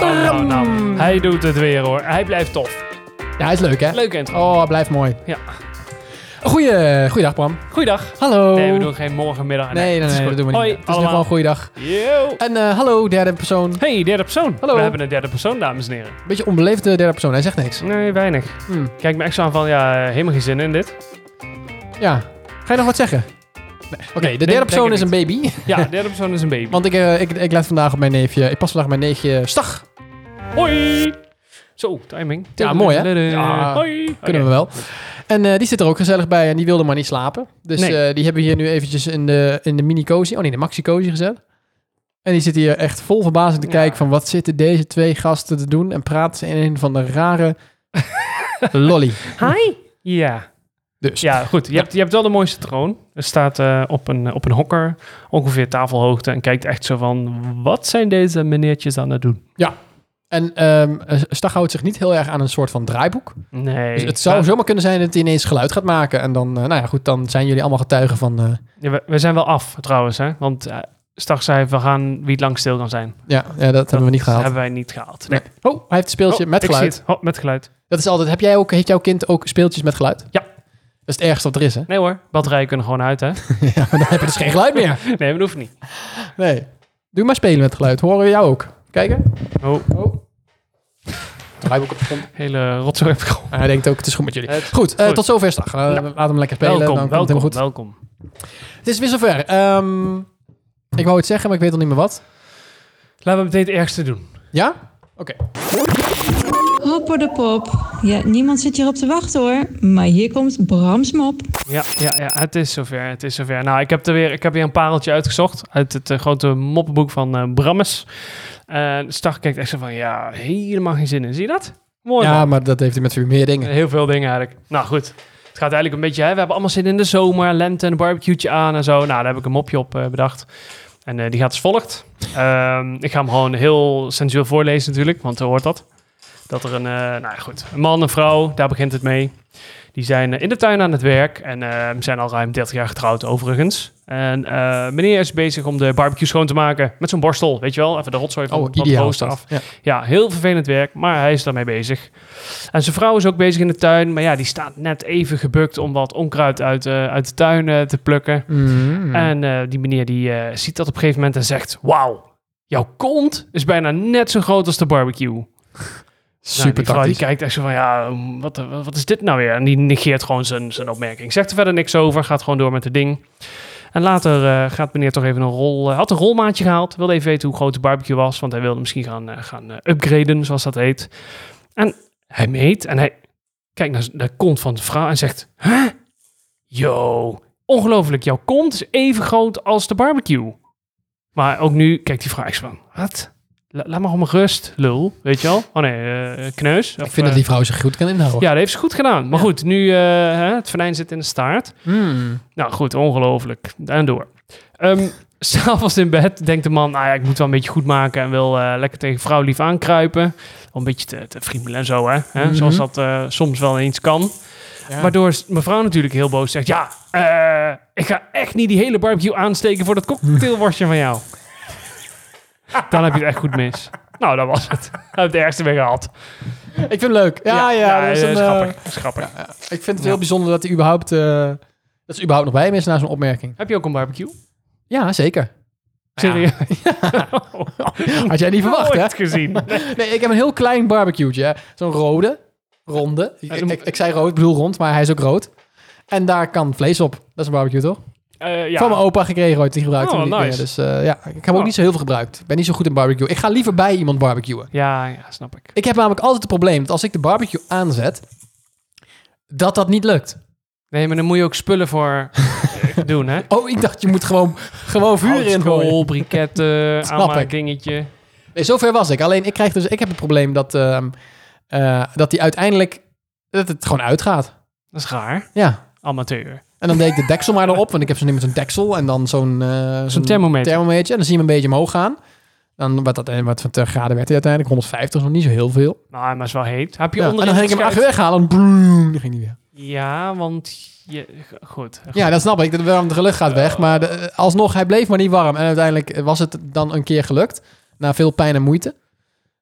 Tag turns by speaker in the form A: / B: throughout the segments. A: nou, hij doet het weer hoor. Hij blijft tof.
B: Ja, hij is leuk, hè?
A: Leuk intro.
B: Oh, hij blijft mooi.
A: Ja.
B: Goeie, goeiedag, Bram.
A: Goeiedag.
B: Hallo.
A: Nee, we doen geen morgenmiddag.
B: Nee, nee, nee,
A: het is
B: dat
A: goed.
B: doen we niet.
A: Hoi,
B: het is nu
A: allemaal.
B: gewoon goeiedag.
A: Yo.
B: En eh, hallo, derde persoon.
A: Hey, derde persoon.
B: Hallo.
A: We hebben een derde persoon, dames en heren.
B: Beetje onbeleefde derde persoon, hij zegt niks.
A: Nee, weinig.
B: Hm.
A: Kijk me echt zo aan van, ja, helemaal geen zin in dit.
B: Ja. Ga je nog wat zeggen? Oké, de
A: denk-
B: derde
A: denk
B: persoon
A: het
B: is een baby.
A: Ja, de derde persoon is een baby.
B: Want ik, eh, ik, ik laat vandaag op mijn neefje... Ik pas vandaag op mijn neefje Stag.
A: Hoi. Zo, timing.
B: Ja, mooi, hè? Ja.
A: Ja. Hoi.
B: Kunnen we wel. En eh, die zit er ook gezellig bij en die wilde maar niet slapen. Dus
A: Nee.
B: eh, die hebben we hier nu eventjes in de, in de mini-cozy... Oh nee, de maxi-cozy gezet. En die zit hier echt vol verbazing te
A: Ja.
B: kijken van... Wat zitten deze twee gasten te doen? En praten ze in een van de rare... lolly.
A: Hi. Ja.
B: Dus.
A: Ja, goed. Je, hebt, je hebt wel de mooiste troon. Er staat eh, op, een, op een hokker, ongeveer tafelhoogte, en kijkt echt zo van, wat zijn deze meneertjes aan het doen?
B: En ehm, eh, Stag houdt zich niet heel erg aan een soort van draaiboek.
A: Nee.
B: Dus het zou
A: Maar-
B: zomaar kunnen zijn dat hij ineens geluid gaat maken. En dan, eh, nou ja, goed, dan zijn jullie allemaal getuigen van... eh,
A: Ja, we, we zijn wel af, trouwens, hè. Want eh straks zei we gaan wie het lang stil kan zijn.
B: ja, ja, dat, hebben we niet gehaald.
A: hebben wij niet gehaald. Nee.
B: Oh, hij heeft een speeltje
A: Oh,
B: met
A: ik zie
B: geluid.
A: het. Oh, met geluid.
B: Dat is altijd... Heb jij ook, heeft jouw kind ook speeltjes met geluid?
A: Ja.
B: Dat is het ergste wat er is, hè?
A: Nee hoor, batterijen kunnen gewoon uit, hè.
B: ja, maar dan heb je dus geen geluid meer.
A: nee, maar dat hoeft niet.
B: Nee. Doe maar spelen met geluid. Horen we jou ook. Kijken.
A: Oh,
B: Oh. Draaiboek op de grond.
A: hele rotzooi heb ik gewoon.
B: En hij denkt ook, het is goed met jullie.
A: Het-
B: Goed, eh,
A: goed.
B: tot zover Stag. Eh, Laat hem lekker spelen. dan
A: Welkom,
B: komt het
A: welkom,
B: helemaal goed.
A: welkom.
B: Het is weer zover. Ehm, ik wou het zeggen, maar ik weet al niet meer wat.
A: Laten we meteen het ergste doen.
B: Ja?
C: Hopper de pop. Ja, niemand zit hierop te wachten hoor. Maar hier komt Brams mop.
A: Ja, ja, ja, het is zover. Het is zover. Nou, ik heb er weer, ik heb weer een pareltje uitgezocht uit het eh, grote moppenboek van eh Brammes. En Star kijkt echt zo van, ja, helemaal geen zin in. Zie je dat? Mooi
B: Ja,
A: man.
B: maar dat heeft hij met veel meer dingen.
A: Heel veel dingen eigenlijk. Nou goed, het gaat eigenlijk een beetje, hè, we hebben allemaal zin in de zomer, lente en een barbecue aan en zo. Nou, daar heb ik een mopje op eh, bedacht. En eh, die gaat als volgt. Ehm, ik ga hem gewoon heel sensueel voorlezen natuurlijk, want zo hoort dat. Dat er een, eh, nou ja, goed, een man, een vrouw, daar begint het mee. Die zijn eh, in de tuin aan het werk en eh, zijn al ruim 30 jaar getrouwd overigens. En eh, meneer is bezig om de barbecue schoon te maken met zo'n borstel, weet je wel? Even de rotzooi van
B: Oh,
A: van het
B: ideaal. is
A: rooster
B: dat.
A: af.
B: Ja.
A: Ja, heel vervelend werk, maar hij is daarmee bezig. En zijn vrouw is ook bezig in de tuin, maar ja, die staat net even gebukt om wat onkruid uit, eh, uit de tuin eh, te plukken.
B: Mm. nou, Hmm.
A: En eh, die meneer die eh, ziet dat op een gegeven moment en zegt, wauw, jouw kont is bijna net zo groot als de barbecue. Nou,
B: Super
A: die vrouw, die
B: tactisch.
A: kijkt echt zo van, ja, mm, wat, wat, wat is dit nou weer? En die negeert gewoon zijn, zijn opmerking. Zegt er verder niks over, gaat gewoon door met het ding. En later eh, gaat meneer toch even een rol... eh, had een rolmaatje gehaald, wilde even weten hoe groot de barbecue was... want hij wilde misschien gaan, eh, gaan eh, upgraden, zoals dat heet. En hij meet en hij kijkt naar z- de kont van de vrouw en zegt... Huh? Yo, ongelooflijk, jouw kont is even groot als de barbecue. Maar ook nu kijkt die vrouw echt zo van... Wat? La- laat maar om rust, lul. Weet je wel? Oh nee, eh, kneus.
B: Ik vind dat die vrouw zich goed kan inhouden.
A: Ja, dat heeft ze goed gedaan. Maar goed, nu eh, hè, het venijn zit in de staart.
B: Mm.
A: Nou goed, ongelooflijk. En door. Ehm, S'avonds in bed denkt de man, nou ja, ik moet wel een beetje goed maken en wil eh, lekker tegen vrouw lief aankruipen. Om een beetje te, te friemelen en zo, hè. Hè,
B: Mhm.
A: Zoals dat eh, soms wel eens kan.
B: Ja.
A: Waardoor s- mevrouw natuurlijk heel boos zegt, ja, eh, ik ga echt niet die hele barbecue aansteken voor dat cocktailworstje van jou. Dan heb je het echt goed mis. Nou, dat was het. Hij heeft het ergste weer gehad.
B: Ik vind het leuk. Ja, ja. dat is een, eh,
A: grappig. dat is grappig.
B: ja, ik vind het
A: Ja.
B: heel bijzonder dat hij überhaupt, eh, dat ze überhaupt nog bij hem is na zo'n opmerking.
A: Heb je ook een barbecue?
B: Ja, zeker.
A: Serieus?
B: Had jij niet verwacht, hè?
A: Nooit gezien.
B: Nee, ik heb een heel klein barbecue. hè. Zo'n rode, ronde. Ik,
A: dan
B: ik,
A: moet-
B: ik- ik zei rood, ik bedoel rond, maar hij is ook rood. En daar kan vlees op. Dat is een barbecue, toch?
A: Eh, ja.
B: Van mijn opa gekregen ooit, die gebruikte
A: Oh,
B: hem niet meer.
A: nice.
B: Dus eh, ja, ik heb hem ook
A: Oh.
B: niet zo heel veel gebruikt. Ik ben niet zo goed in barbecue. Ik ga liever bij iemand barbecuen.
A: ja, ja, snap ik.
B: Ik heb namelijk altijd het probleem dat als ik de barbecue aanzet, dat dat niet lukt.
A: Nee, maar dan moet je ook spullen voor eh, doen, hè?
B: Oh, ik dacht, je moet gewoon, gewoon vuur in gooien.
A: Houtskool, briketten,
B: Snap ik.
A: aanmaakdingetje.
B: Nee, zover was ik. Alleen ik, krijg dus, ik heb het probleem dat, ehm, eh, dat die uiteindelijk dat het gewoon uitgaat.
A: Dat is raar.
B: Ja.
A: Amateur.
B: En dan deed ik de deksel maar erop, want ik heb zo niet met zo'n deksel en dan zo'n eh, zo'n
A: thermometer.
B: En dan zie je hem een beetje omhoog gaan. Dan wat dat eh, wat voor graden werd hij uiteindelijk 150 is nog niet zo heel veel.
A: Nou, maar is wel heet. Heb je
B: Ja, en dan
A: onderin
B: ging ik hem
A: iets
B: echt
A: uit-
B: weghalen. En broem, die ging niet weer.
A: Ja, want... Je... Goed.
B: Ja, dat snap ik. De warmte lucht gaat weg. Maar de- alsnog, hij bleef maar niet warm. En uiteindelijk was het dan een keer gelukt. Na veel pijn en moeite.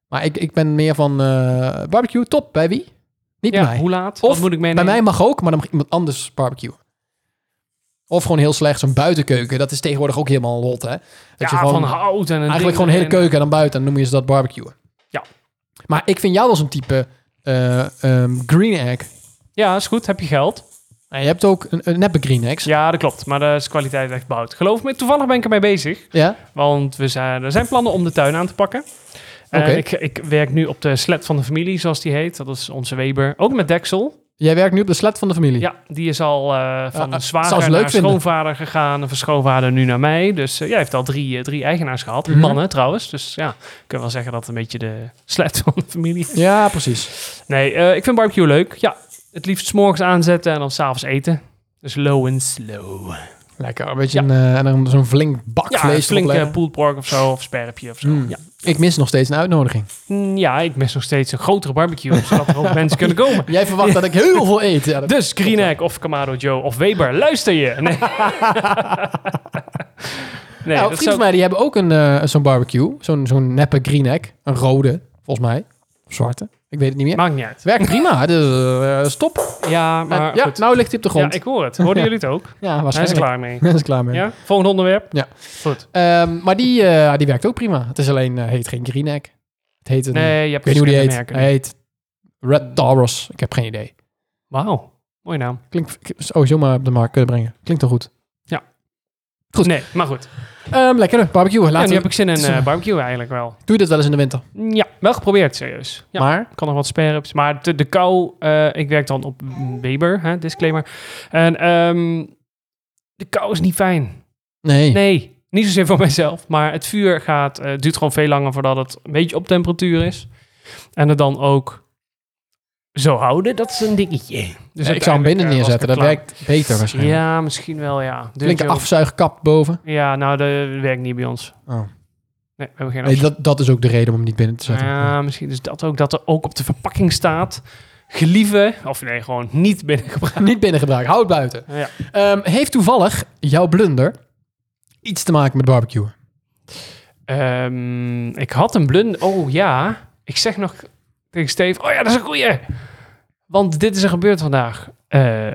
B: Maar ik, ik ben meer van eh, barbecue, top. Bij wie? Niet bij
A: Ja,
B: mij.
A: hoe laat?
B: Of
A: Wat moet ik
B: Bij
A: meenemen?
B: mij mag ook, maar dan mag iemand anders barbecuen. Of gewoon heel slecht, zo'n buitenkeuken. Dat is tegenwoordig ook helemaal rot, hè? Dat
A: ja,
B: je gewoon,
A: van hout en een
B: eigenlijk
A: ding
B: gewoon een hele
A: en-
B: keuken en dan buiten. Dan noem je ze dat barbecuen.
A: Ja.
B: Maar ik vind jou wel zo'n type eh, ehm, green egg.
A: Ja, is goed. Heb je geld?
B: En je hebt ook een, een neppe green eggs.
A: Ja, dat klopt. Maar de is kwaliteit echt behoud. Geloof me, toevallig ben ik ermee bezig.
B: Ja?
A: Want we zijn, er zijn plannen om de tuin aan te pakken. En
B: Oké.
A: ik, ik werk nu op de slet van de familie, zoals die heet. Dat is onze Weber. Ook met deksel.
B: Jij werkt nu op de slet van de familie.
A: Ja, die is al eh van
B: Hm. eh, zou
A: zwager
B: ze
A: naar
B: leuk vinden.
A: schoonvader gegaan. En van schoonvader nu naar mij. Dus eh, jij heeft al drie, eh, drie eigenaars gehad.
B: Mhm.
A: Mannen trouwens. Dus ja, ik kan wel zeggen dat het een beetje de slet van de familie is.
B: Ja, precies.
A: Nee, eh, ik vind barbecue leuk. Ja, het liefst 's morgens aanzetten en dan s'avonds eten. Dus low and slow.
B: Lekker, een beetje een, eh, en dan zo'n flink bak
A: Ja,
B: vlees erop
A: flink eh,
B: leggen.
A: pulled pork of zo. Of sperpje of zo.
B: Mm.
A: Ja.
B: Ik mis nog steeds een uitnodiging.
A: Mm, ja, ik mis nog steeds een grotere barbecue. zodat er ook mensen kunnen komen.
B: Jij verwacht dat ik heel veel eet. Ja, dat-
A: Dus Green Egg of Kamado Joe of Weber, luister je. Nee, nee
B: nou,
A: dat
B: vrienden
A: zou-
B: van mij die hebben ook een, eh, zo'n barbecue. Zo'n zo'n neppe green egg. Een rode, volgens mij. Of zwarte. Ik weet het niet meer.
A: maakt niet uit.
B: het werkt prima. Dus, eh, stop.
A: Ja, maar
B: ja,
A: goed.
B: nou ligt hij op de grond.
A: Ja, ik hoor het. Hoorden jullie het ook?
B: Ja,
A: Hij is er
B: waarschijnlijk.
A: klaar mee.
B: Hij is er klaar mee.
A: Ja? Volgend onderwerp?
B: Ja.
A: Goed.
B: Ehm, maar die, eh, die werkt ook prima. Het is alleen, eh, heet geen green egg. Het heet een...
A: Nee, je hebt
B: Ik weet niet hoe die
A: verschillende
B: heet.
A: merken.
B: Hij heet Red Taurus. Ik heb geen idee.
A: Wauw. Mooie naam.
B: Klinkt sowieso maar op de markt kunnen brengen. Klinkt toch goed? Goed.
A: Nee, maar goed.
B: Ehm lekker, barbecue.
A: Ja,
B: Laten
A: nu
B: we-
A: heb ik zin in
B: het is een-
A: eh, barbecue eigenlijk wel.
B: Doe je dit wel eens in de winter?
A: Ja, wel geprobeerd, serieus. Ja.
B: Maar?
A: kan nog wat sperps. Maar de, de kou, eh, ik werk dan op Weber, hè, disclaimer. En ehm, de kou is niet fijn.
B: Nee.
A: Nee, niet zozeer voor mijzelf. Maar het vuur gaat, eh, duurt gewoon veel langer voordat het een beetje op temperatuur is. En het dan ook zo houden, dat is een dingetje. Dus
B: ik zou hem binnen
A: uiteindelijk, eh, was ik
B: neerzetten.
A: er
B: Dat werkt beter
A: klaar.
B: waarschijnlijk.
A: Ja, misschien wel, ja. Dus
B: Flinke
A: joh.
B: afzuigkap boven.
A: Ja, nou, dat werkt niet bij ons.
B: Oh.
A: Nee, we hebben geen
B: Nee, dat, dat is ook de reden om hem niet binnen te zetten.
A: Ja, misschien is dat ook dat er ook op de verpakking staat. Gelieven, of nee, gewoon niet binnengebracht.
B: Niet binnen gebruiken, houd buiten.
A: Ja.
B: Ehm, heeft toevallig jouw blunder iets te maken met barbecue?
A: Ehm, ik had een blunder. Oh ja, ik zeg nog tegen Steve, oh ja, dat is een goeie. Want dit is er gebeurd vandaag. Eh,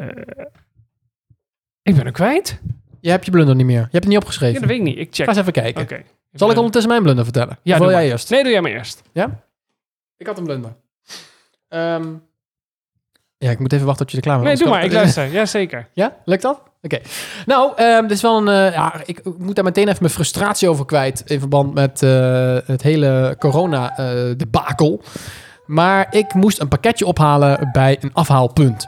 A: ik ben hem kwijt?
B: Je hebt je blunder niet meer. Je hebt het niet opgeschreven.
A: Ja, dat weet ik niet. Ik check.
B: Ga
A: Oké.
B: eens even kijken. Zal ik ondertussen mijn blunder vertellen?
A: Ja,
B: Of wil
A: doe
B: jij
A: maar.
B: eerst? Oh,
A: Nee, doe jij maar eerst.
B: Ik had een blunder. Ehm, ja, ik moet even wachten tot je er klaar bent.
A: Nee, doe maar.
B: anders
A: Ik
B: kan-
A: luister. Jazeker.
B: Ja, lukt dat? Oké. Nou, ehm, dit is wel een. eh, ja, ik moet daar meteen even mijn frustratie over kwijt. In verband met eh, het hele corona-debakel. maar ik moest een pakketje ophalen bij een afhaalpunt.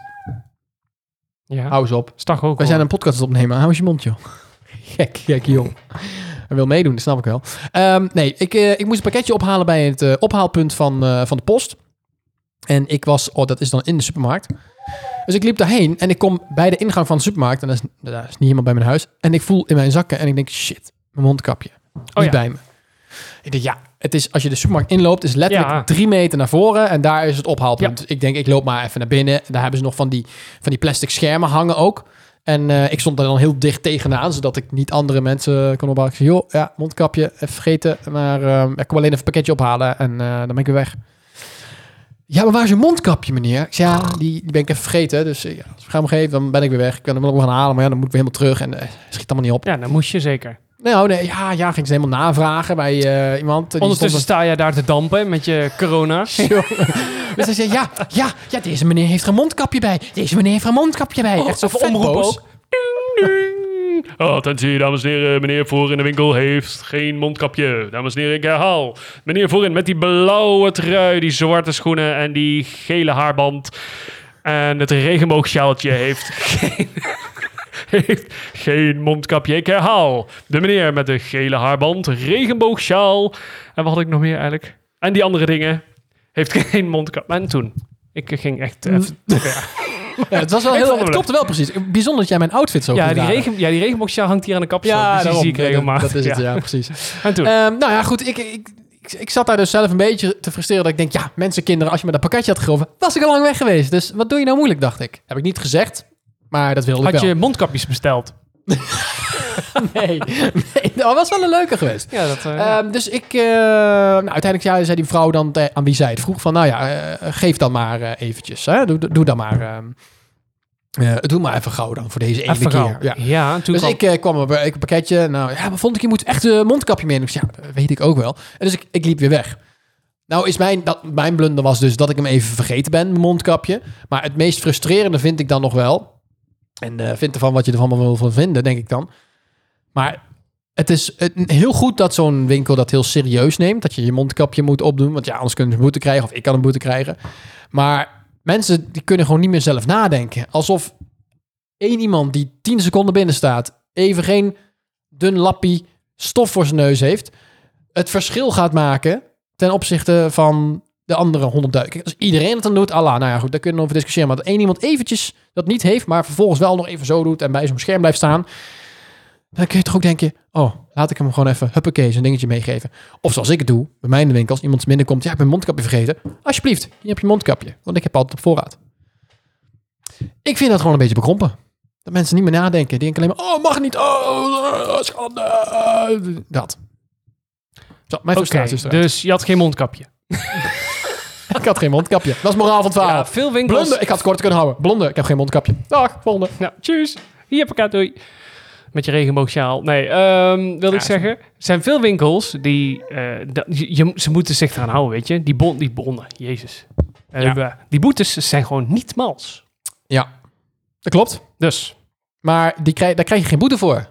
A: Ja.
B: Hou eens op.
A: Stag ook.
B: Wij
A: hoor.
B: zijn een podcast aan het opnemen. Hou eens je mond, joh. Gek, gek, joh. Hij wil meedoen, dat snap ik wel. Ehm, nee, ik, eh, ik moest een pakketje ophalen bij het eh, ophaalpunt van, eh, van de post. En ik was, oh, dat is dan in de supermarkt. Dus ik liep daarheen en ik kom bij de ingang van de supermarkt. En dat is, dat is niet helemaal bij mijn huis. En ik voel in mijn zakken en ik denk, shit, mijn mondkapje. Niet
A: Oh ja.
B: bij me. Ik denk, ja, het is, als je de supermarkt inloopt, is letterlijk
A: Ja.
B: drie meter naar voren. En daar is het ophaalpunt.
A: Ja.
B: Dus ik denk, ik loop maar even naar binnen. Daar hebben ze nog van die, van die plastic schermen hangen ook. En eh, ik stond daar dan heel dicht tegenaan, zodat ik niet andere mensen kon opbouwen. Ik zei, joh, ja, mondkapje, even vergeten. Maar ehm, ik kom alleen even een pakketje ophalen en eh, dan ben ik weer weg. Ja, maar waar is je mondkapje, meneer? Ik zei, ja, die, die ben ik even vergeten. Dus eh, ja, als we gaan hem geven, dan ben ik weer weg. Ik kan hem wel nog gaan halen, maar ja, dan moet ik weer helemaal terug. En eh, schiet allemaal niet op.
A: Ja, dat moest je zeker.
B: Nou, nee, ja, ja, ging ze helemaal navragen bij eh, iemand. eh, Die stond
A: Ondertussen sta jij daar te dampen met je corona.
B: Dus hij zei, ja, ja, ja, deze meneer heeft er een mondkapje bij. Deze meneer heeft er een mondkapje bij. Echt zo
A: Oh, of omroep
B: vetboos.
A: ook. Ding, ding. Attentie, dames en heren. Meneer voor in de winkel heeft geen mondkapje. Dames en heren, ik herhaal. Meneer voorin met die blauwe trui, die zwarte schoenen en die gele haarband. En het regenboogschaaltje heeft geen... Heeft geen mondkapje. Ik herhaal. De meneer met de gele haarband, regenboogsjaal. En wat had ik nog meer eigenlijk? En die andere dingen. Heeft geen mondkapje. En toen. Ik ging echt
B: Hm.
A: even
B: Ja, het was wel
A: Ik
B: heel,
A: vond
B: het
A: hem
B: klopte wel precies. Bijzonder dat jij mijn outfit zo
A: Ja,
B: goed
A: die
B: raadde.
A: regen, ja, die regenboogsjaal hangt hier aan de kapsel.
B: Ja,
A: Ja, die
B: daarom.
A: zie ik
B: Nee, dat-
A: regelmatig.
B: Dat is het,
A: ja.
B: ja, precies.
A: En toen?
B: Ehm, nou ja, goed. Ik, ik, ik, ik zat daar dus zelf een beetje te frustreren. Dat ik denk, ja, mensen, kinderen, als je me dat pakketje had gegeven, was ik al lang weg geweest. Dus wat doe je nou moeilijk, dacht ik. Heb ik niet gezegd, maar dat wilde ik
A: had
B: wel.
A: je mondkapjes besteld?
B: nee, nee, dat was wel een leuke geweest.
A: Ja, dat... eh, ja.
B: Ehm, dus ik, eh, nou, uiteindelijk ja, zei die vrouw dan te- aan wie zij het vroeg van, nou ja, eh, geef dan maar eh, eventjes, hè? Doe, doe, doe dan maar, ehm, eh, doe maar even gauw dan voor deze ene
A: Even
B: keer.
A: gauw.
B: Ja.
A: Ja,
B: Dus
A: natuurlijk.
B: ik eh, kwam op eh, ik een pakketje, nou ja, maar vond ik je moet echt een mondkapje meenemen. Ik zei, ja, dat weet ik ook wel. En dus ik, ik liep weer weg. Nou is mijn, dat, mijn blunder was dus dat ik hem even vergeten ben, mijn mondkapje. Maar het meest frustrerende vind ik dan nog wel, en eh vind ervan wat je ervan wil van vinden, denk ik dan. Maar het is eh, heel goed dat zo'n winkel dat heel serieus neemt. Dat je je mondkapje moet opdoen. Want ja, anders kunnen ze een boete krijgen. Of ik kan een boete krijgen. Maar mensen die kunnen gewoon niet meer zelf nadenken. Alsof één iemand die 10 seconden binnen staat. even geen dun lappie stof voor zijn neus heeft. het verschil gaat maken ten opzichte van de andere honderdduik. Als iedereen het dan doet, Allah, nou ja, goed, daar kunnen we over discussiëren. Maar dat één iemand eventjes dat niet heeft, maar vervolgens wel nog even zo doet en bij zo'n scherm blijft staan, dan kun je toch ook denken, oh, laat ik hem gewoon even, huppakee, zo'n dingetje meegeven. Of zoals ik het doe, bij mij in de winkel, als iemand binnenkomt, ja, ik ben mondkapje vergeten. Alsjeblieft, hier heb je mondkapje, want ik heb altijd op voorraad. Ik vind dat gewoon een beetje bekrompen. Dat mensen niet meer nadenken. Die denken alleen maar, oh, mag niet, oh, eh, schande, eh, dat. Zo, mijn
A: Oké,
B: frustratie is eruit.
A: dus je had geen mondkapje.
B: Ik had geen mondkapje. Dat is moraal van het verhaal.
A: Ja, veel winkels...
B: Blonde, Ah, ik had het kort kunnen houden. Blonde, ik heb geen mondkapje. Dag, volgende.
A: Nou, tjus. Hier heb ik het, doei. Met je regenboogsjaal. Nee, ehm wil ik zeggen. Er zijn veel winkels die... eh, dat- je, je- ze moeten zich eraan houden, weet je. Die, bon, die bonnen, jezus. Eh, Die boetes zijn gewoon niet mals.
B: Ja, dat klopt.
A: Dus,
B: Maar die krijg, daar krijg je geen boete voor.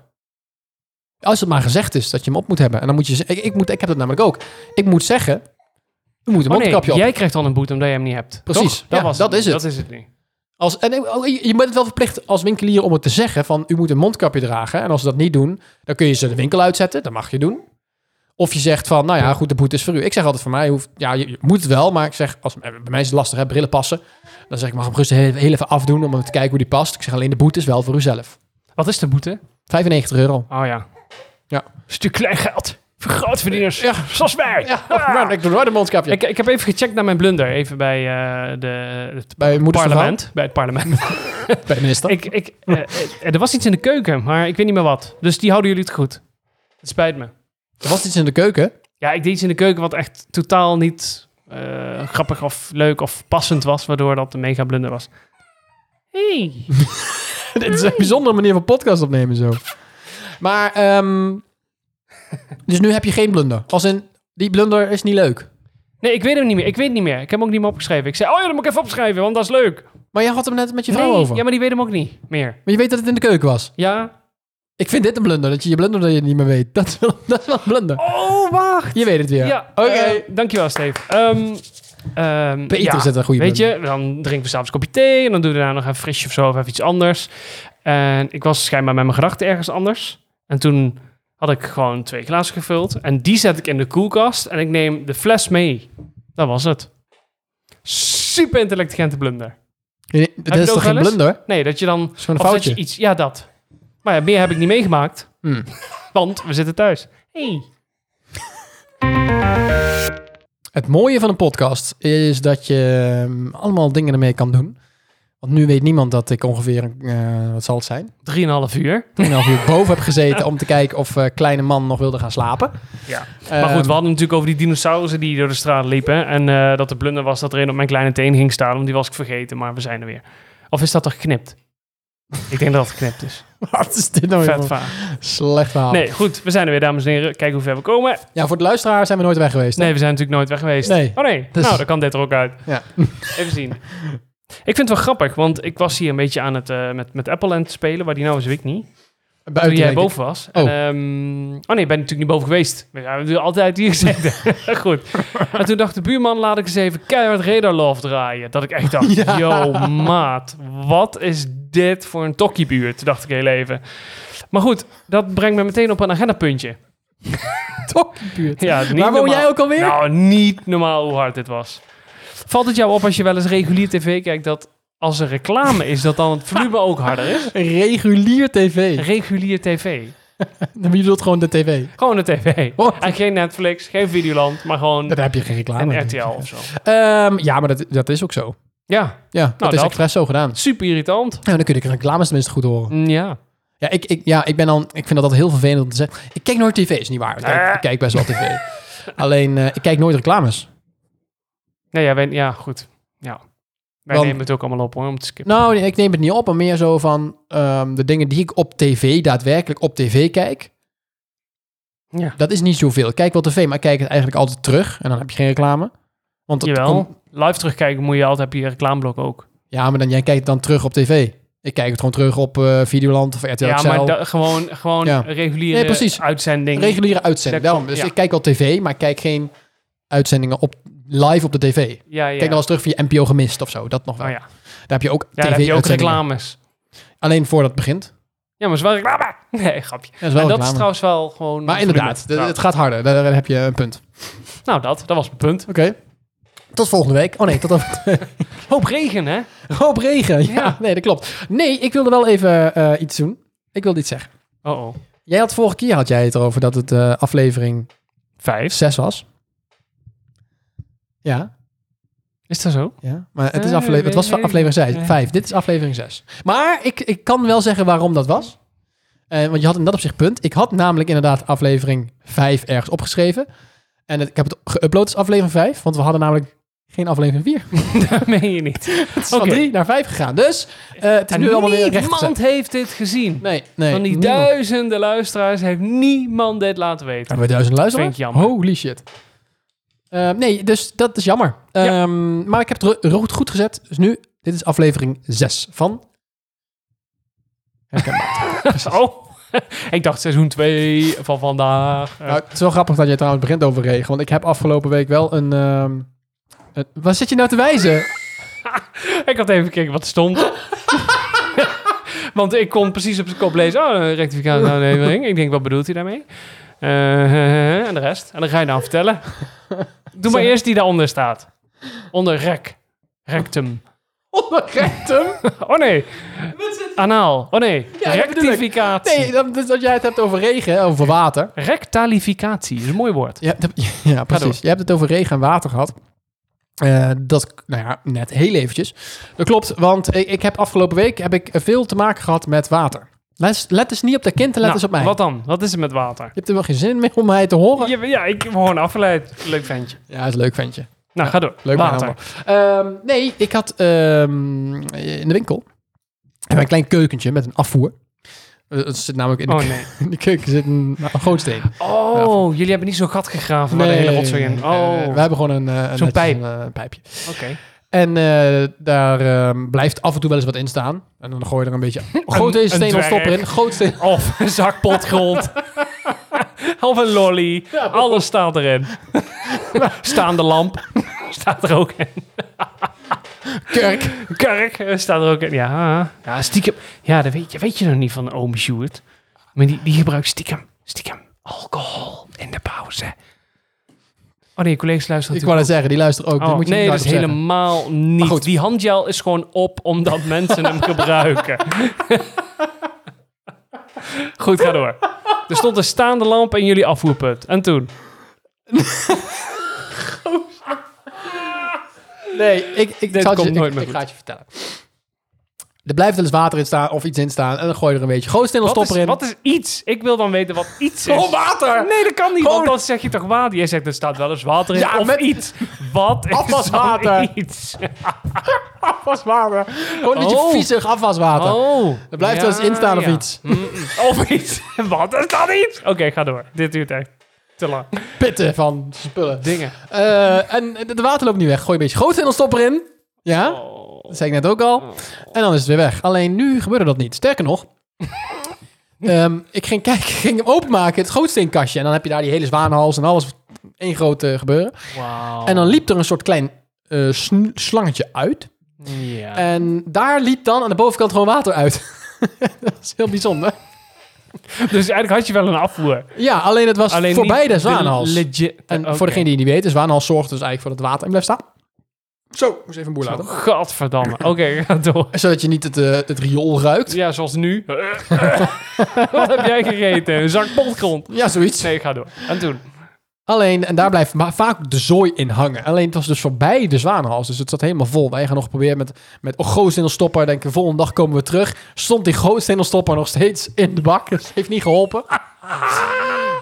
B: Als het maar gezegd is dat je hem op moet hebben. En dan moet je ze- ik, ik, moet, ik heb dat namelijk ook. Ik moet zeggen, u moet een
A: oh nee,
B: mondkapje op.
A: jij krijgt dan een boete omdat je hem niet hebt.
B: Precies,
A: Toch? Dat,
B: ja,
A: was
B: dat is het.
A: Dat is het nu.
B: Als, en ik- ook, je je bent wel verplicht als winkelier om het te zeggen van u moet een mondkapje dragen. En als ze dat niet doen, dan kun je ze de winkel uitzetten. Dat mag je doen. Of je zegt van, nou ja, goed, de boete is voor u. Ik zeg altijd voor mij, je hoeft, ja, je, je moet het wel. Maar ik zeg, als, eh, bij mij is het lastig, hè, brillen passen. Dan zeg ik, mag hem rustig heel, heel even afdoen om even te kijken hoe die past. Ik zeg alleen, de boete is wel voor uzelf.
A: Wat is de boete?
B: 95 euro.
A: Oh ja.
B: Ja.
A: Stuk klein geld. Voor grootverdieners.
B: Ja.
A: Zoals wij.
B: Ja, nou,
A: Ah.
B: man, ik doe nooit een mondkapje.
A: Ik, ik heb even gecheckt naar mijn blunder. Even bij eh, de, het
B: bij moeders van
A: parlement. Bij het parlement.
B: Vrouw, bij de minister.
A: Ik, ik, eh, eh, er was iets in de keuken, maar ik weet niet meer wat. Dus die houden jullie het goed. Het spijt me.
B: Er was iets in de keuken.
A: Ja, ik deed iets in de keuken wat echt totaal niet eh, grappig of leuk of passend was, waardoor dat een mega blunder was. Hey.
B: Dit is een bijzondere manier van podcast opnemen zo. Maar, ehm, dus nu heb je geen blunder. Als in, die blunder is niet leuk.
A: Nee, ik weet hem niet meer. Ik weet het niet meer. Ik heb hem ook niet meer opgeschreven. Ik zei, oh ja, dat moet ik even opschrijven, want dat is leuk.
B: Maar jij had hem net met je vrouw
A: Nee,
B: over.
A: Ja, maar die weet hem ook niet meer.
B: Maar je weet dat het in de keuken was.
A: Ja?
B: Ik vind dit een blunder, dat je je blunder dat je het niet meer weet. Dat is wel, dat is wel een blunder.
A: Oh, wacht.
B: Je weet het weer.
A: Ja,
B: Oké.
A: eh, dankjewel, Steve. Ehm ehm,
B: Peter
A: ja.
B: zet een goede
A: Weet
B: blunder.
A: je, dan drinken we s'avonds een kopje thee en dan doen we daarna nog even frisje of zo of even iets anders. En ik was schijnbaar met mijn gedachten ergens anders. En toen had ik gewoon twee glazen gevuld en die zet ik in de koelkast en ik neem de fles mee. Dat was het. Super intelligente blunder.
B: Nee,
A: je
B: Dat is
A: het ook
B: toch geen
A: wel eens?
B: blunder?
A: Nee, dat je dan...
B: is gewoon een
A: of dat
B: foutje.
A: je iets, ja, dat. Maar ja, meer heb ik niet meegemaakt,
B: Hmm.
A: want we zitten thuis. Hey.
B: Het mooie van een podcast is dat je ehm, allemaal dingen ermee kan doen. Want nu weet niemand dat ik ongeveer, eh, wat zal het zijn?
A: Drieënhalf uur.
B: 2,5 uur boven heb gezeten om te kijken of eh, kleine man nog wilde gaan slapen. Eh,
A: Ja. Maar goed, we hadden het natuurlijk over die dinosaurussen die door de straat liepen. En eh, dat de blunder was dat er een op mijn kleine teen ging staan. Om die was ik vergeten, maar we zijn er weer. Of is dat er geknipt? ik denk dat het geknipt is.
B: Wat is dit nou weer
A: Vet
B: voor
A: vaag.
B: slecht verhaal?
A: Nee, goed, we zijn er weer, dames en heren. Kijk hoe ver we komen.
B: Ja, voor de luisteraar zijn we nooit weg geweest.
A: Nee, we zijn natuurlijk nooit weg geweest.
B: Nee.
A: Oh nee,
B: Dus-
A: nou, dan kan dit er ook uit.
B: Ja.
A: Even zien. Ik vind het wel grappig, want ik was hier een beetje aan het eh, met, met Apple aan het spelen, waar die nou is, weet ik niet.
B: Buiten
A: toen jij
B: denk ik.
A: boven was. En,
B: Oh.
A: ehm, oh nee, ik ben natuurlijk niet boven geweest. We hebben natuurlijk altijd hier gezeten. Goed. En toen dacht de buurman, laat ik eens even keihard Radar Love draaien. Dat ik echt dacht,
B: Ja.
A: yo maat, wat is dit voor een tokkiebuurt? Dacht ik heel even. Maar goed, dat brengt me meteen op een agendapuntje.
B: Tokkiebuurt.
A: Ja, niet
B: Waar woon
A: normaal.
B: jij ook alweer?
A: Nou, niet normaal hoe hard dit was. Valt het jou op als je wel eens regulier tv kijkt dat als er reclame is, dat dan het volume ook harder is?
B: Regulier tv.
A: Regulier tv.
B: Dan bedoelt gewoon de tv.
A: Gewoon een tv.
B: Wat?
A: En geen Netflix, geen Videoland, maar gewoon
B: Daar heb je geen reclame.
A: een
B: in.
A: RTL of zo.
B: Ehm, ja, maar dat, dat is ook zo.
A: Ja,
B: Ja, dat is
A: Nou, dat.
B: expres zo gedaan. Nou,
A: super irritant.
B: Ja, dan kun je de reclames tenminste goed horen.
A: Mm, Ja.
B: Ja, ik, ik, ja, ik, ben dan, ik vind dat altijd heel vervelend om te zeggen. Ik kijk nooit tv, is niet waar. Ik
A: Eh.
B: kijk, ik kijk best wel tv. Alleen, eh, ik kijk nooit reclames.
A: Nee, ja, wij, ja goed. Ja. Wij
B: Want-
A: nemen het ook allemaal op hoor, om te skippen.
B: Nou, nee, ik neem het niet op, maar meer zo van ehm, de dingen die ik op tv, daadwerkelijk op tv kijk.
A: Ja.
B: Dat is niet zoveel. Ik kijk wel tv, maar ik kijk het eigenlijk altijd terug. En dan heb je geen reclame. Want dat
A: Jawel.
B: komt-
A: Live terugkijken moet je altijd, heb je reclameblok ook.
B: ja, maar dan, jij kijkt het dan terug op tv. Ik kijk het gewoon terug op eh, Videoland of RTL
A: ja,
B: Excel.
A: maar da- gewoon, gewoon
B: Ja.
A: reguliere
B: Nee, precies.
A: uitzending.
B: Reguliere uitzending.
A: Daar
B: Daarom.
A: komt-
B: Dus
A: ja.
B: ik kijk wel tv, maar ik kijk geen uitzendingen op, live op de tv. Ik
A: ja, ja.
B: Kijk dan wel eens terug via NPO gemist of zo. Dat nog wel.
A: Oh, ja.
B: Daar heb je ook
A: ja, dan heb je ook
B: tv-uitzendingen.
A: reclames.
B: Alleen voordat het begint.
A: Ja, maar is wel reclame. Nee, grapje.
B: Ja, is wel
A: en dat
B: reclame.
A: is trouwens wel gewoon...
B: Maar
A: volume.
B: inderdaad, de-
A: Nou,
B: het gaat harder. Daar daar heb je een punt.
A: Nou, dat. Dat was mijn punt.
B: Oké. Tot volgende week. Oh nee, tot dan.
A: Hoop regen, hè?
B: Hoop regen. Ja,
A: Ja.
B: nee, dat klopt. Nee, ik wilde wel even eh, iets doen. Ik wilde iets zeggen.
A: Oh, oh.
B: Jij had vorige keer had jij het erover dat het eh, aflevering
A: Vijf.
B: 6 was. Ja,
A: Is dat zo?
B: ja. Maar het, is
A: Eh,
B: afle- het was
A: weet ik
B: aflevering
A: niet.
B: 5. Dit is aflevering 6. Maar ik, ik kan wel zeggen waarom dat was. Eh, want je had in dat opzicht punt. Ik had namelijk inderdaad aflevering 5 ergens opgeschreven. En het- ik heb het geüpload als aflevering 5. Want we hadden namelijk geen aflevering 4.
A: Dat meen je niet.
B: Het is van
A: Oké.
B: 3 naar 5 gegaan. Dus eh, het is
A: En
B: nu allemaal weer recht.
A: niemand heeft dit gezien.
B: Nee, nee.
A: Van die
B: niemand.
A: duizenden luisteraars heeft niemand dit laten weten.
B: Hebben we duizend luisteren?
A: Vind ik jammer.
B: Holy shit. Eh, nee, dus dat is jammer.
A: Ja.
B: Ehm, Maar ik heb het ro- goed, goed gezet. Dus nu, dit is aflevering 6 van... Herkenbaar.
A: Oh, ik dacht seizoen 2 van vandaag. Eh,
B: nou, het is wel grappig dat jij trouwens begint over regen. Want ik heb afgelopen week wel een... ehm, een- waar zit je nou te wijzen?
A: ik had even gekeken wat er stond. Want ik kon precies op zijn kop lezen. Oh, een rectificatie aanneming. Ik denk, wat bedoelt hij daarmee? Eh, en de rest. En dan ga je nou vertellen. Doe maar eerst die daaronder staat. Onder rek. Rectum.
B: Onder rectum?
A: Oh nee. Anaal. Oh nee.
B: Ja, dat bedoel ik.
A: Rectificatie.
B: Nee, dat, dus dat jij het hebt over regen, over water.
A: Rectalificatie is een mooi woord.
B: Je hebt het- ja,
A: door.
B: precies. Je hebt het over regen en water gehad. Eh, dat, nou ja, net heel eventjes. Dat klopt, want ik, ik heb afgelopen week heb ik veel te maken gehad met water. Let, let eens niet op dat kind en let
A: Nou,
B: eens op mij.
A: Wat dan? Wat is er met water?
B: Je hebt er wel geen zin mee om mij te horen. Ja,
A: Ja, ja, ik word gewoon afgeleid. Leuk ventje.
B: is leuk, ventje.
A: Nou, ga door.
B: Leuk maar
A: Water.
B: helemaal. Ehm, nee, ik had ehm, in de winkel heb ik een klein keukentje met een afvoer. Eh, Het zit namelijk in de,
A: Oh
B: keu-
A: nee. Nou,
B: in de keuken zit een, een gootsteen.
A: Oh, jullie hebben niet zo'n gat gegraven waar de hele rotzooi in.
B: Eh,
A: Oh,
B: we hebben gewoon een, eh, een netjes
A: pijp.
B: een, eh, een pijpje.
A: oké.
B: En eh, daar ehm, blijft af en toe wel eens wat in staan. En dan gooi je er een beetje... Goot
A: een
B: deze steen
A: dwerg.
B: of stop erin. Goot steen...
A: Of een zak potgrond. of een lolly. Alles staat erin. Staande lamp staat er ook in.
B: Kerk.
A: Kurk eh, staat er ook in. Ja, ja stiekem. Ja, dat weet je, weet je nog niet van oom Sjoerd. Maar die, die gebruikt stiekem, stiekem alcohol in de pauze. Oh nee, collega's luisteren
B: Ik wou dat zeggen, die luistert ook.
A: Oh,
B: dat moet je
A: nee,
B: niet
A: dat is
B: hardop zeggen.
A: helemaal niet.
B: goed.
A: Die handgel is gewoon op omdat mensen hem gebruiken. Goed, ga door. Er stond een staande lamp in jullie afvoerput. En toen?
B: Nee, ik, ik,
A: Dit
B: zal het
A: komt
B: je,
A: nooit
B: ik,
A: meer
B: ik
A: goed.
B: ga het je vertellen. Er blijft wel eens water in staan of iets in staan. En dan gooi je er een beetje goot steen of
A: Wat
B: stop
A: is,
B: erin.
A: wat is iets? Ik wil dan weten wat iets is.
B: Gewoon water!
A: Nee, dat kan niet,
B: Gewoon-
A: want dan zeg je toch water. Jij zegt, er staat wel eens water in.
B: Ja,
A: of
B: met-
A: iets. Wat is dan
B: Afwaswater.
A: iets?
B: Afwaswater. Gewoon een beetje
A: Oh.
B: viezig afwaswater.
A: Oh.
B: Er blijft wel eens in staan of iets.
A: Of iets. Wat is dan iets? Oké, ga door. Dit duurt echt te lang.
B: Pitten van spullen.
A: Dingen.
B: Eh, en de de water loopt niet weg. Gooi een beetje goot steen of stop erin. Ja?
A: Oh.
B: Dat zei ik net ook al. En dan is het weer weg. Alleen nu gebeurde dat niet. Sterker nog, ehm, ik ging kijken, ik ging hem openmaken, het gootsteenkastje. En dan heb je daar die hele zwaanhals en alles, één groot eh, gebeuren.
A: Wauw.
B: En dan liep er een soort klein eh, sn- slangetje uit.
A: Ja.
B: En daar liep dan aan de bovenkant gewoon water uit. dat is heel bijzonder.
A: dus eigenlijk had je wel een afvoer.
B: Ja, alleen het was
A: Alleen
B: voorbij
A: niet
B: de zwaanhals.
A: legit- Oh, Eh,
B: en
A: Oké.
B: voor degene die het niet weet, de zwaanhals zorgt dus eigenlijk voor dat het water in blijft staan. Zo, moest even een boer laten.
A: Gadverdamme. Oké, ga door.
B: Zodat je niet het, eh, het riool ruikt.
A: Ja, zoals nu. Wat heb jij gegeten? Een zak potgrond.
B: Ja, zoiets.
A: Nee, ga door. En toen?
B: Alleen, en daar blijft ma- vaak de zooi in hangen. Alleen het was dus voorbij de zwanenhals. Dus het zat helemaal vol. Wij gaan nog proberen met, met oh, gootstendelstopper. Denken, volgende dag komen we terug. Stond die gootstendelstopper nog steeds in de bak. Dat heeft niet geholpen.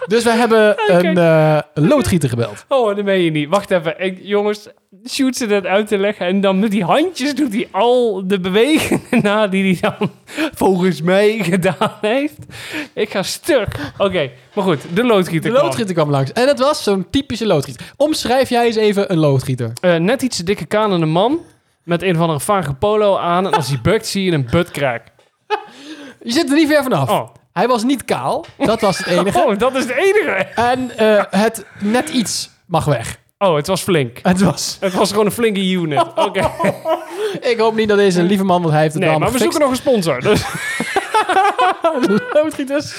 B: Dus we hebben een eh, loodgieter gebeld.
A: Oh, dat ben je niet. Wacht even. Ik- jongens, shoot ze dat uit te leggen. En dan met die handjes doet hij al de bewegingen na die hij dan volgens mij gedaan heeft. Ik ga stuk. Oké, maar goed. De loodgieter
B: De
A: kwam.
B: loodgieter kwam langs. En het was zo'n typische loodgieter. Omschrijf jij eens even een loodgieter.
A: Eh, net iets te dikke kanende man. Met een van een vage polo aan. En als hij bukt, zie je een buttkraak.
B: Je zit er niet ver vanaf.
A: Oh.
B: Hij was niet kaal. Dat was het enige.
A: oh, dat is het enige.
B: En eh, het net iets mag weg.
A: Oh, het was flink.
B: Het was.
A: Het was gewoon een flinke unit. Oké.
B: Ik hoop niet dat deze een lieve man, want hij heeft het
A: Nee,
B: wel
A: maar we zoeken nog een sponsor. Dus Oh,
B: loodgieters.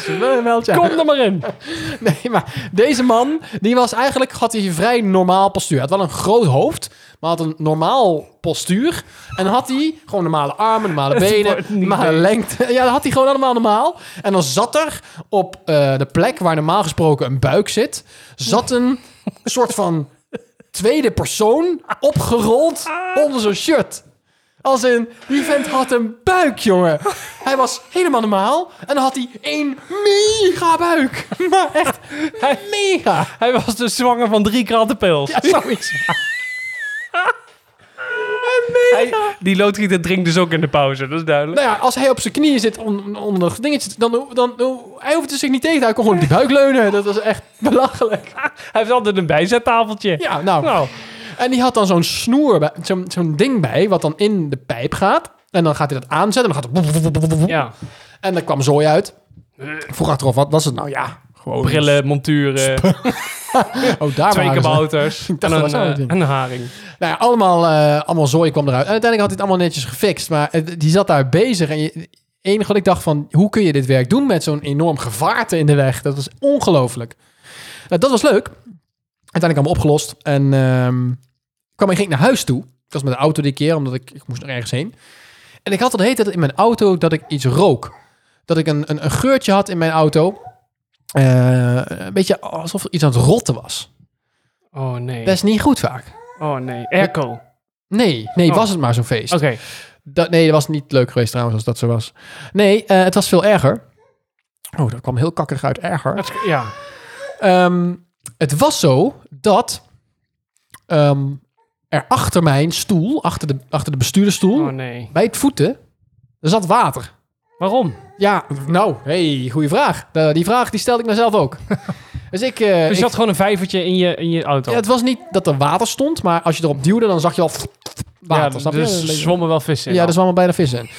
B: Meld je aan.
A: kom er maar in.
B: Nee, maar deze man, die was eigenlijk, had hij een vrij normaal postuur. Hij had wel een groot hoofd, maar had een normaal postuur. En had hij gewoon normale armen, normale benen,
A: wordt niet
B: normale
A: leuk.
B: lengte. Ja, dat had hij gewoon allemaal normaal. En dan zat er op eh, de plek waar normaal gesproken een buik zit, zat een soort van tweede persoon opgerold
A: Ah.
B: onder zijn shirt. Als in, die vent had een buik, jongen. Hij was helemaal normaal. En dan had hij één mega buik. Maar echt mega.
A: Hij was dus zwanger van drie kratten pils.
B: Ja, zoiets.
A: Hij- die loodgieter drinkt dus ook in de pauze, dat is duidelijk.
B: Nou ja, als hij op zijn knieën zit on- onder dat dingetje, dan, dan, dan- hij hoeft er zich niet tegen. te houden. Hij kon gewoon op die buik leunen. Dat was echt belachelijk.
A: Hij heeft altijd een bijzettafeltje.
B: Ja, nou.
A: Nou,
B: En die had dan zo'n snoer, bij- zo'n zo'n ding bij, wat dan in de pijp gaat. En dan gaat hij dat aanzetten. En dan gaat het...
A: ja.
B: En daar kwam zooi uit. Ik vroeg achteraf, wat was het nou? Ja, gewoon...
A: Brillen, monturen,
B: Oh, daar
A: twee
B: waren ze.
A: kabouters en
B: dacht
A: een,
B: dat was zo'n
A: eh,
B: ding.
A: een haring.
B: Nou ja, allemaal, eh, allemaal zooi kwam eruit. En uiteindelijk had hij het allemaal netjes gefixt. Maar eh, die zat daar bezig. En je, het enige wat ik dacht van, hoe kun je dit werk doen met zo'n enorm gevaarte in de weg? Dat was ongelooflijk. Nou, dat was leuk. Uiteindelijk allemaal opgelost. En ehm, kwam en ging naar huis toe. Ik was met de auto die keer, omdat ik, ik moest nog ergens heen. En ik had al de hele tijd in mijn auto dat ik iets rook. Dat ik een, een, een geurtje had in mijn auto. Eh, een beetje alsof er iets aan het rotten was.
A: Oh nee,
B: Dat is niet goed vaak.
A: oh nee. Airco. Oké.
B: Nee, nee,
A: Oh.
B: was het maar zo'n feest. Dat, nee, dat was niet leuk geweest trouwens als dat zo was. Nee, eh, het was veel erger. Oh, dat kwam heel kakkerig uit. Erger.
A: Het- Ja.
B: Ehm, het was zo dat ehm, er achter mijn stoel, achter de, achter de bestuurdersstoel,
A: Oh nee.
B: bij het voeten, er zat water.
A: Waarom?
B: Ja, nou, hey, goede vraag. Eh, die vraag die stelde ik mezelf ook. dus ik... eh,
A: Er
B: ik-
A: zat gewoon een vijvertje in je, in je auto.
B: ja, het was niet dat er water stond, maar als je erop duwde, dan zag je al water.
A: Ja,
B: snap je?
A: dus
B: Een beetje-
A: zwommen wel vissen. in.
B: Ja, er zwammen bijna vissen in.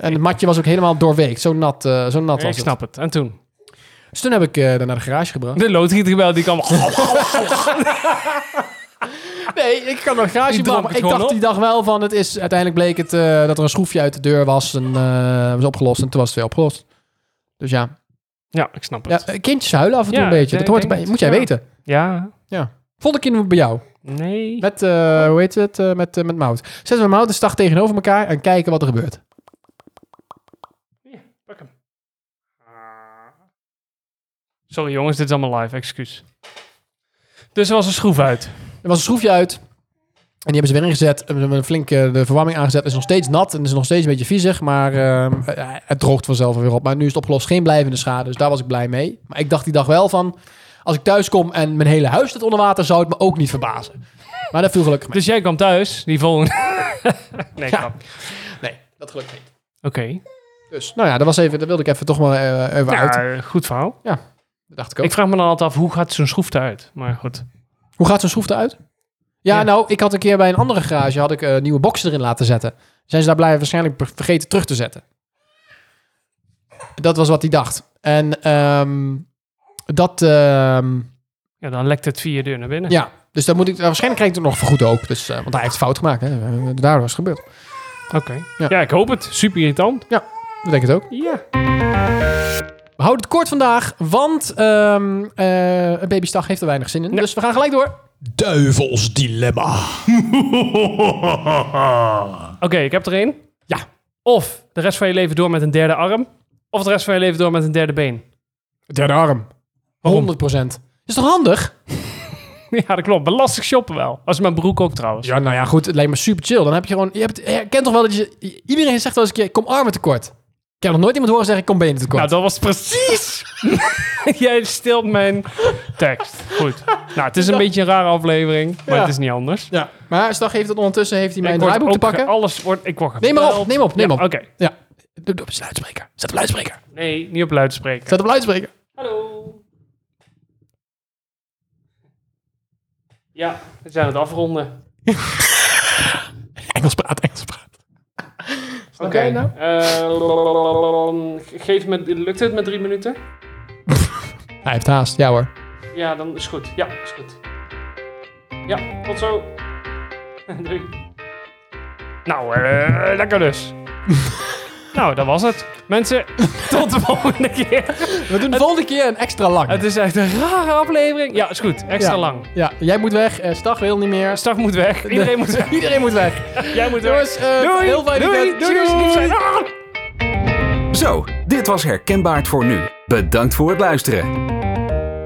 B: En het matje was ook helemaal doorweekt. Zo nat, eh, zo nat was
A: ik snap het. En toen?
B: het. Dus toen heb ik eh daar naar de garage gebracht.
A: De loodgieter gebeld, die kwam...
B: Nee, ik kan naar de garage
A: Die dronk
B: brengen, maar
A: het
B: Ik dacht
A: gewoon
B: die dag wel van... Het is, uiteindelijk bleek het eh, dat er een schroefje uit de deur was. En eh, was opgelost. En toen was het weer opgelost. Dus ja.
A: Ja, ik snap het.
B: ja eh, kindjes huilen af en toe
A: Ja,
B: een beetje.
A: ik
B: Dat hoort
A: denk
B: erbij.
A: het,
B: Moet jij
A: ja.
B: weten.
A: Ja.
B: Volgende kinderen bij jou.
A: Nee.
B: Met, eh, hoe heet het? eh, met, eh, met Mout. Zetten we Mout en Stag tegenover elkaar. En kijken wat er gebeurt.
A: Pak hem. Ah. Sorry jongens, dit is allemaal live, excuus. Dus er was een schroef uit.
B: Er was een schroefje uit. En die hebben ze weer ingezet. En we hebben flink eh, de verwarming aangezet. Het is nog steeds nat en het is nog steeds een beetje viezig. Maar ehm, eh, het droogt vanzelf weer op. Maar nu is het opgelost. Geen blijvende schade. Dus daar was ik blij mee. Maar ik dacht die dag wel van... Als ik thuis kom en mijn hele huis staat onder water... zou het me ook niet verbazen. Maar dat viel gelukkig mee.
A: Dus jij kwam thuis, die volgende... nee,
B: Ja.
A: grap.
B: Nee, dat gelukkig niet.
A: Oké.
B: Dus nou ja, dat, was even, dat wilde ik even toch maar eh, even uit.
A: Nou Ja, goed verhaal.
B: Dat dacht ik ook.
A: Ik vraag me dan altijd af, hoe gaat zo'n schroef eruit? Maar goed.
B: Hoe gaat zo'n schroef eruit? Ja,
A: Ja.
B: nou, ik had een keer bij een andere garage... had ik eh, nieuwe boxen erin laten zetten. Zijn ze daar blij waarschijnlijk per- vergeten terug te zetten. Dat was wat hij dacht. En ehm, dat... ehm,
A: Ja, dan lekt het via de deur naar binnen.
B: ja, dus dat moet ik... Waarschijnlijk krijg ik het nog vergoed ook. Dus, eh, want hij heeft fout gemaakt. Hè. Eh, Daardoor is het gebeurd.
A: Oké.
B: Ja.
A: Ja. ik hoop het. Super irritant.
B: Dat denk ik het ook.
A: Ja.
B: We houden het kort vandaag, want ehm eh, een babystag heeft er weinig zin in. Dus we gaan gelijk door. Duivels dilemma.
A: Oké, ik heb er één.
B: Ja.
A: Of de rest van je leven door met een derde arm. Of de rest van je leven door met een derde been.
B: Derde arm.
A: Waarom?
B: 100%. Is toch handig?
A: Ja, dat klopt. Belastig shoppen wel. Als mijn broek ook trouwens.
B: Ja, nou ja, goed. Het lijkt me super chill. Dan heb je gewoon... Je, hebt, je kent toch wel dat je... Iedereen zegt wel eens een keer, kom armen tekort. Ik heb nog nooit iemand horen zeggen, ik kom benen tekort.
A: Nou, dat was precies. Jij stilt mijn tekst. Goed. Nou, het is een beetje een rare aflevering, maar
B: Ja.
A: het is niet anders.
B: ja. Maar Stag heeft het ondertussen, heeft hij mijn
A: ik word
B: draaiboek te
A: ook ge- oh.
B: pakken.
A: alles wordt. Ik word
B: Neem maar op,
A: gebeld.
B: neem op, neem
A: Ja,
B: op.
A: Oké.
B: Ja. Doe, doe op de luidspreker. Zet op luidspreker.
A: Nee, niet op luidspreker.
B: Zet op luidspreker.
A: Hallo. Ja, we zijn het afronden.
B: Engels praat, Engels praat.
A: Oké.
B: jij nou?
A: Eh, geef me, lukt het met drie minuten?
B: Hij heeft haast. Ja hoor.
A: Ja, dan is goed. Ja, is goed. Ja, tot zo. Doei. Nou, eh, lekker dus. nou, dat was het. Mensen, tot de volgende keer.
B: We doen de volgende keer een extra lang.
A: Het is echt een rare aflevering. Ja, is goed. Extra
B: Ja.
A: lang.
B: Ja, jij moet weg. eh, Stag wil niet meer.
A: Stag moet weg. Iedereen moet weg.
B: Iedereen moet weg.
A: Jij moet weg.
B: Jongens, eh,
A: Doei.
B: heel fijn
A: Doei.
B: weekend.
A: Doei.
B: Doei.
A: Lief zijn. Ah!
D: Zo, dit was herkenbaar voor nu. Bedankt voor het luisteren.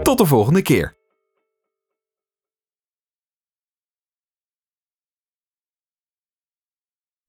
D: Tot de volgende keer.